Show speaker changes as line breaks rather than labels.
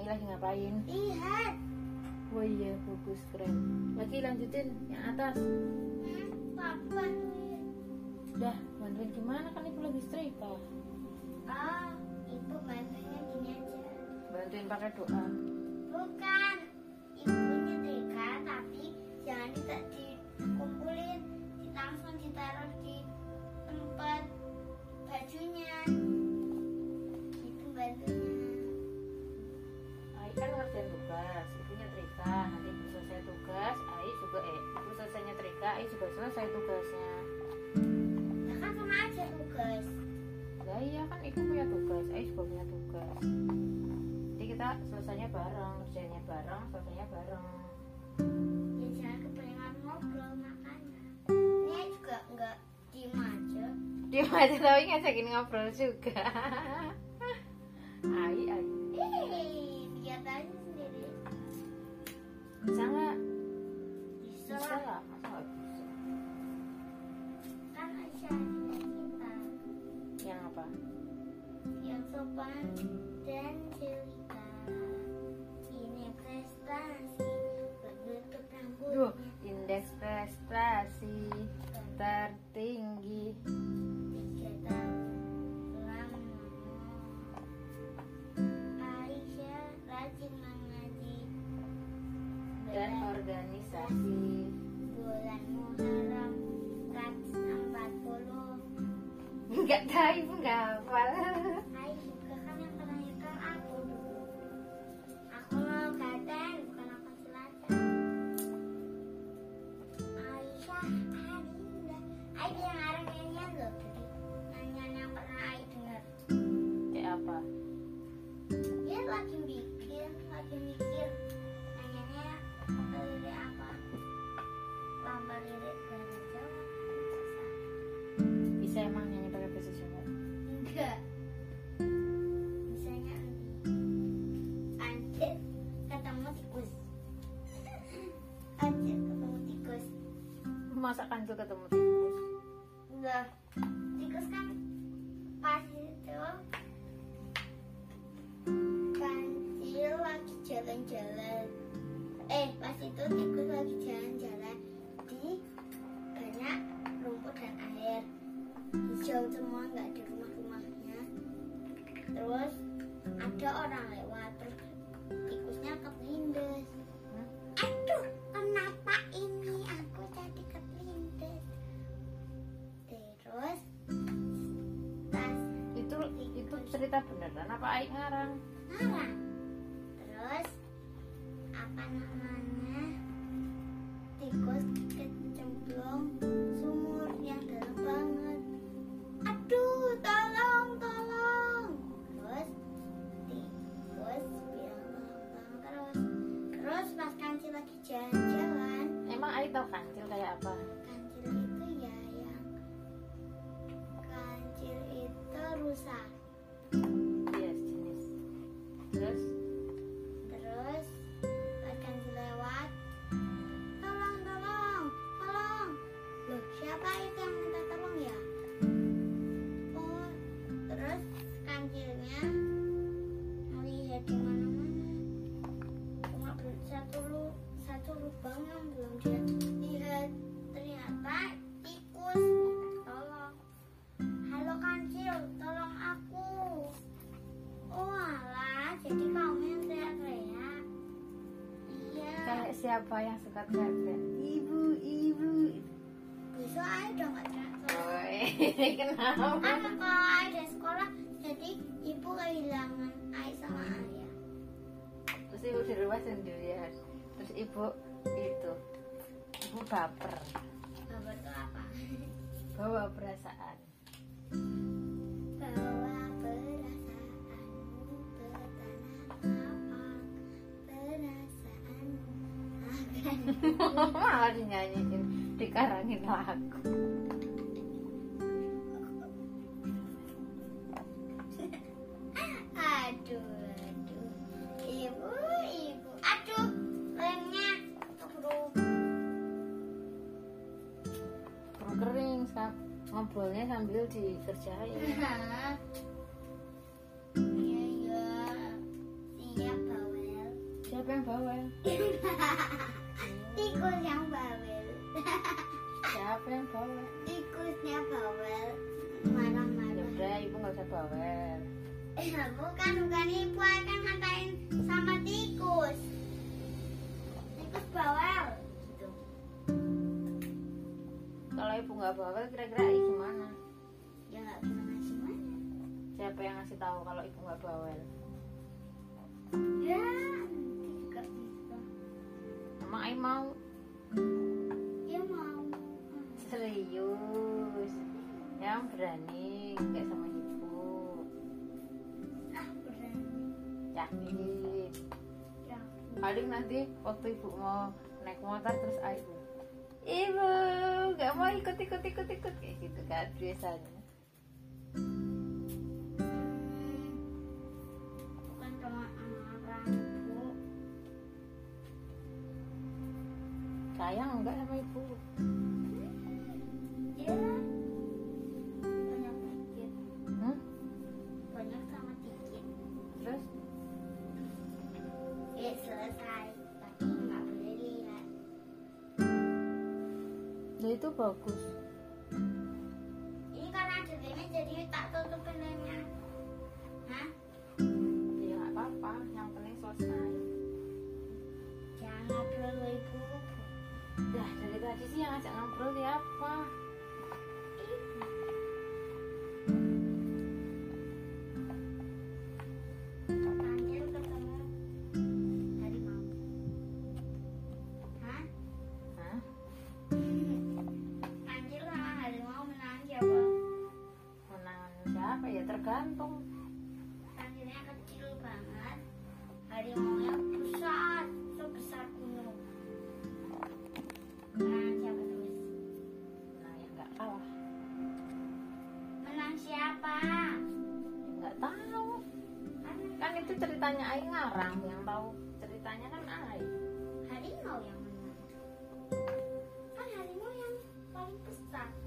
ngapain
Lihat.
oh iya bagus keren lagi lanjutin yang atas
Hmm, Papa tuh. ya.
udah bantuin gimana kan ibu lagi setrika
Oh, ibu bantunya gini aja.
bantuin pakai doa
Bukan. Ibu nyetrika tapi jangan di- dikumpulin. Langsung ditaruh di tempat bajunya. Itu bantunya.
Ai kan ngerjain tugas ibu nyetrika nanti ibu selesai tugas Ai juga eh ibu selesai nyetrika Ai juga selesai tugasnya
Ya kan sama aja tugas.
lah iya kan ibu punya tugas Ai juga punya tugas jadi kita selesainya bareng kerjanya bareng selesainya bareng
Ya jangan kepengen ngobrol makanya. Ini juga enggak diem aja.
dia aja tapi ngajakin ngobrol juga Ai Ai
Hei, lihat aja sendiri.
bisa nggak
Bisa
bisa
lah,
lah masa nggak bisa
kan Aisyah adiknya kita
yang apa
yang sopan dan cerita. Ini prestasi berbentuk
Duh,
rambutnya
indeks prestasi tertinggi
tiga tahun lama. Aisyah rajin mengaji
dan
Berani
organisasi.
bulan Muharram 140
Enggak tahu, ibu enggak hafal.
Hai juga kan yang pernah nyetel aku dulu Aku mau gaten bukan aku selatan Aisyah Adinda Ai yang ngarang nyanyian loh Budi Nyanyian yang pernah Ai dengar
Kayak apa?
Dia lagi mikir, lagi mikir Nyanyiannya lirik apa Lambang lirik bahasa Jawa Susah
Bisa emang nyanyi pakai bahasa Jawa?
Enggak. Misalnya anjir ketemu tikus. Anjir ketemu tikus.
Masa kanjeng ketemu tikus?
Enggak. Tikus kan pas itu kancil lagi jalan-jalan. Eh, pas itu tikus lagi jalan-jalan di banyak rumput dan air hijau semua nggak ada rumah-rumahnya. Terus ada orang lewat terus tikusnya kepelindes.
Hah?
Aduh, kenapa ini aku jadi kepelindes? Terus pas
Itu itu cerita beneran apa aik ngarang?
marah. Terus apa namanya? Tikus kecemplung sumur yang dalam banget. Aduh, tolong, tolong. Terus tikus bilang tolong, tolong terus. Terus pas kanci lagi jalan-jalan,
Emang aik tahu kancil kayak apa?
kancil itu ya yang kancil itu rusak.
Iya, jenis. Terus
Terus akan lewat Tolong, tolong, tolong Loh, siapa itu yang minta tolong ya? Oh, terus kancilnya melihat di mana-mana Cuma ber- satu, lu- satu lubang yang belum dia lihat Ternyata tikus Tolong Halo kancil, tolong aku Walah, jadi kamu yang teriak-teriak. Iya.
kayak siapa yang suka teriak Ibu, ibu.
Besok ayo udah nggak teriak-teriak.
Oi, kenapa?
Karena Kan kalau ayo dari sekolah, jadi ibu kehilangan ayo sama ayah.
Terus ibu di rumah sendirian. Terus ibu itu ibu baper,
Bapak tuh apa?
bawa perasaan.
Bawa perasaanmu ke tanah lapang. Perasaanmu akan
malah dinyanyiin dikarangin lagu
Aduh, aduh. Ibu, ibu. Aduh, lemnya keburu
perlu kering Sab. ngobrolnya sambil dikerjain
Iya, iya. Siap, Bawel.
yang bawel?
Tikusnya bawel.
Siapa yang bawel?
Tikusnya bawel. Marah-marah.
Ya udah, ibu nggak usah bawel.
bukan bukan ibu akan ngatain sama tikus tikus bawel gitu.
Kalau ibu nggak bawel, kira-kira Ai gimana?
ya nggak gimana gimana
Siapa yang ngasih tahu kalau ibu nggak bawel?
ya nanti juga bisa
Emang Ai mau?
dia mau
Serius? Yang berani nggak sama ibu?
ah berani
Yakin?
ya
Paling nanti waktu ibu mau naik motor terus Ai bilang, Ibu, nggak mau ikut ikut ikut ikut kayak gitu kan biasanya.
Hmm, bukan cuma amarah bu
Sayang nggak sama ibu?
ya banyak dikit
Hmm?
banyak sama dikit
Terus
ya selesai tapi nggak boleh lihat
ya itu bagus.
Ini karena ada ini jadi tak tutupin lemnya. Hah?
Ya nggak apa-apa, yang penting selesai.
Jangan ngobrol lu ibu.
Dah dari tadi sih yang ngajak ngobrol ya siapa?
Nanti lu ketemu dari mama. Hah?
Hah?
Nanti lu sama harimau menang siapa?
Menangan siapa ya tergantung.
Anjirnya kecil banget. Harimaunya besar, sebesar gunung. Menang siapa terus?
Nah yang nggak kalah,
Menang siapa?
ya nggak tahu.
Kan
Kan itu ceritanya Ai ngarang yang tahu ceritanya kan Ai.
harimau yang menang kan harimau yang Kan paling besar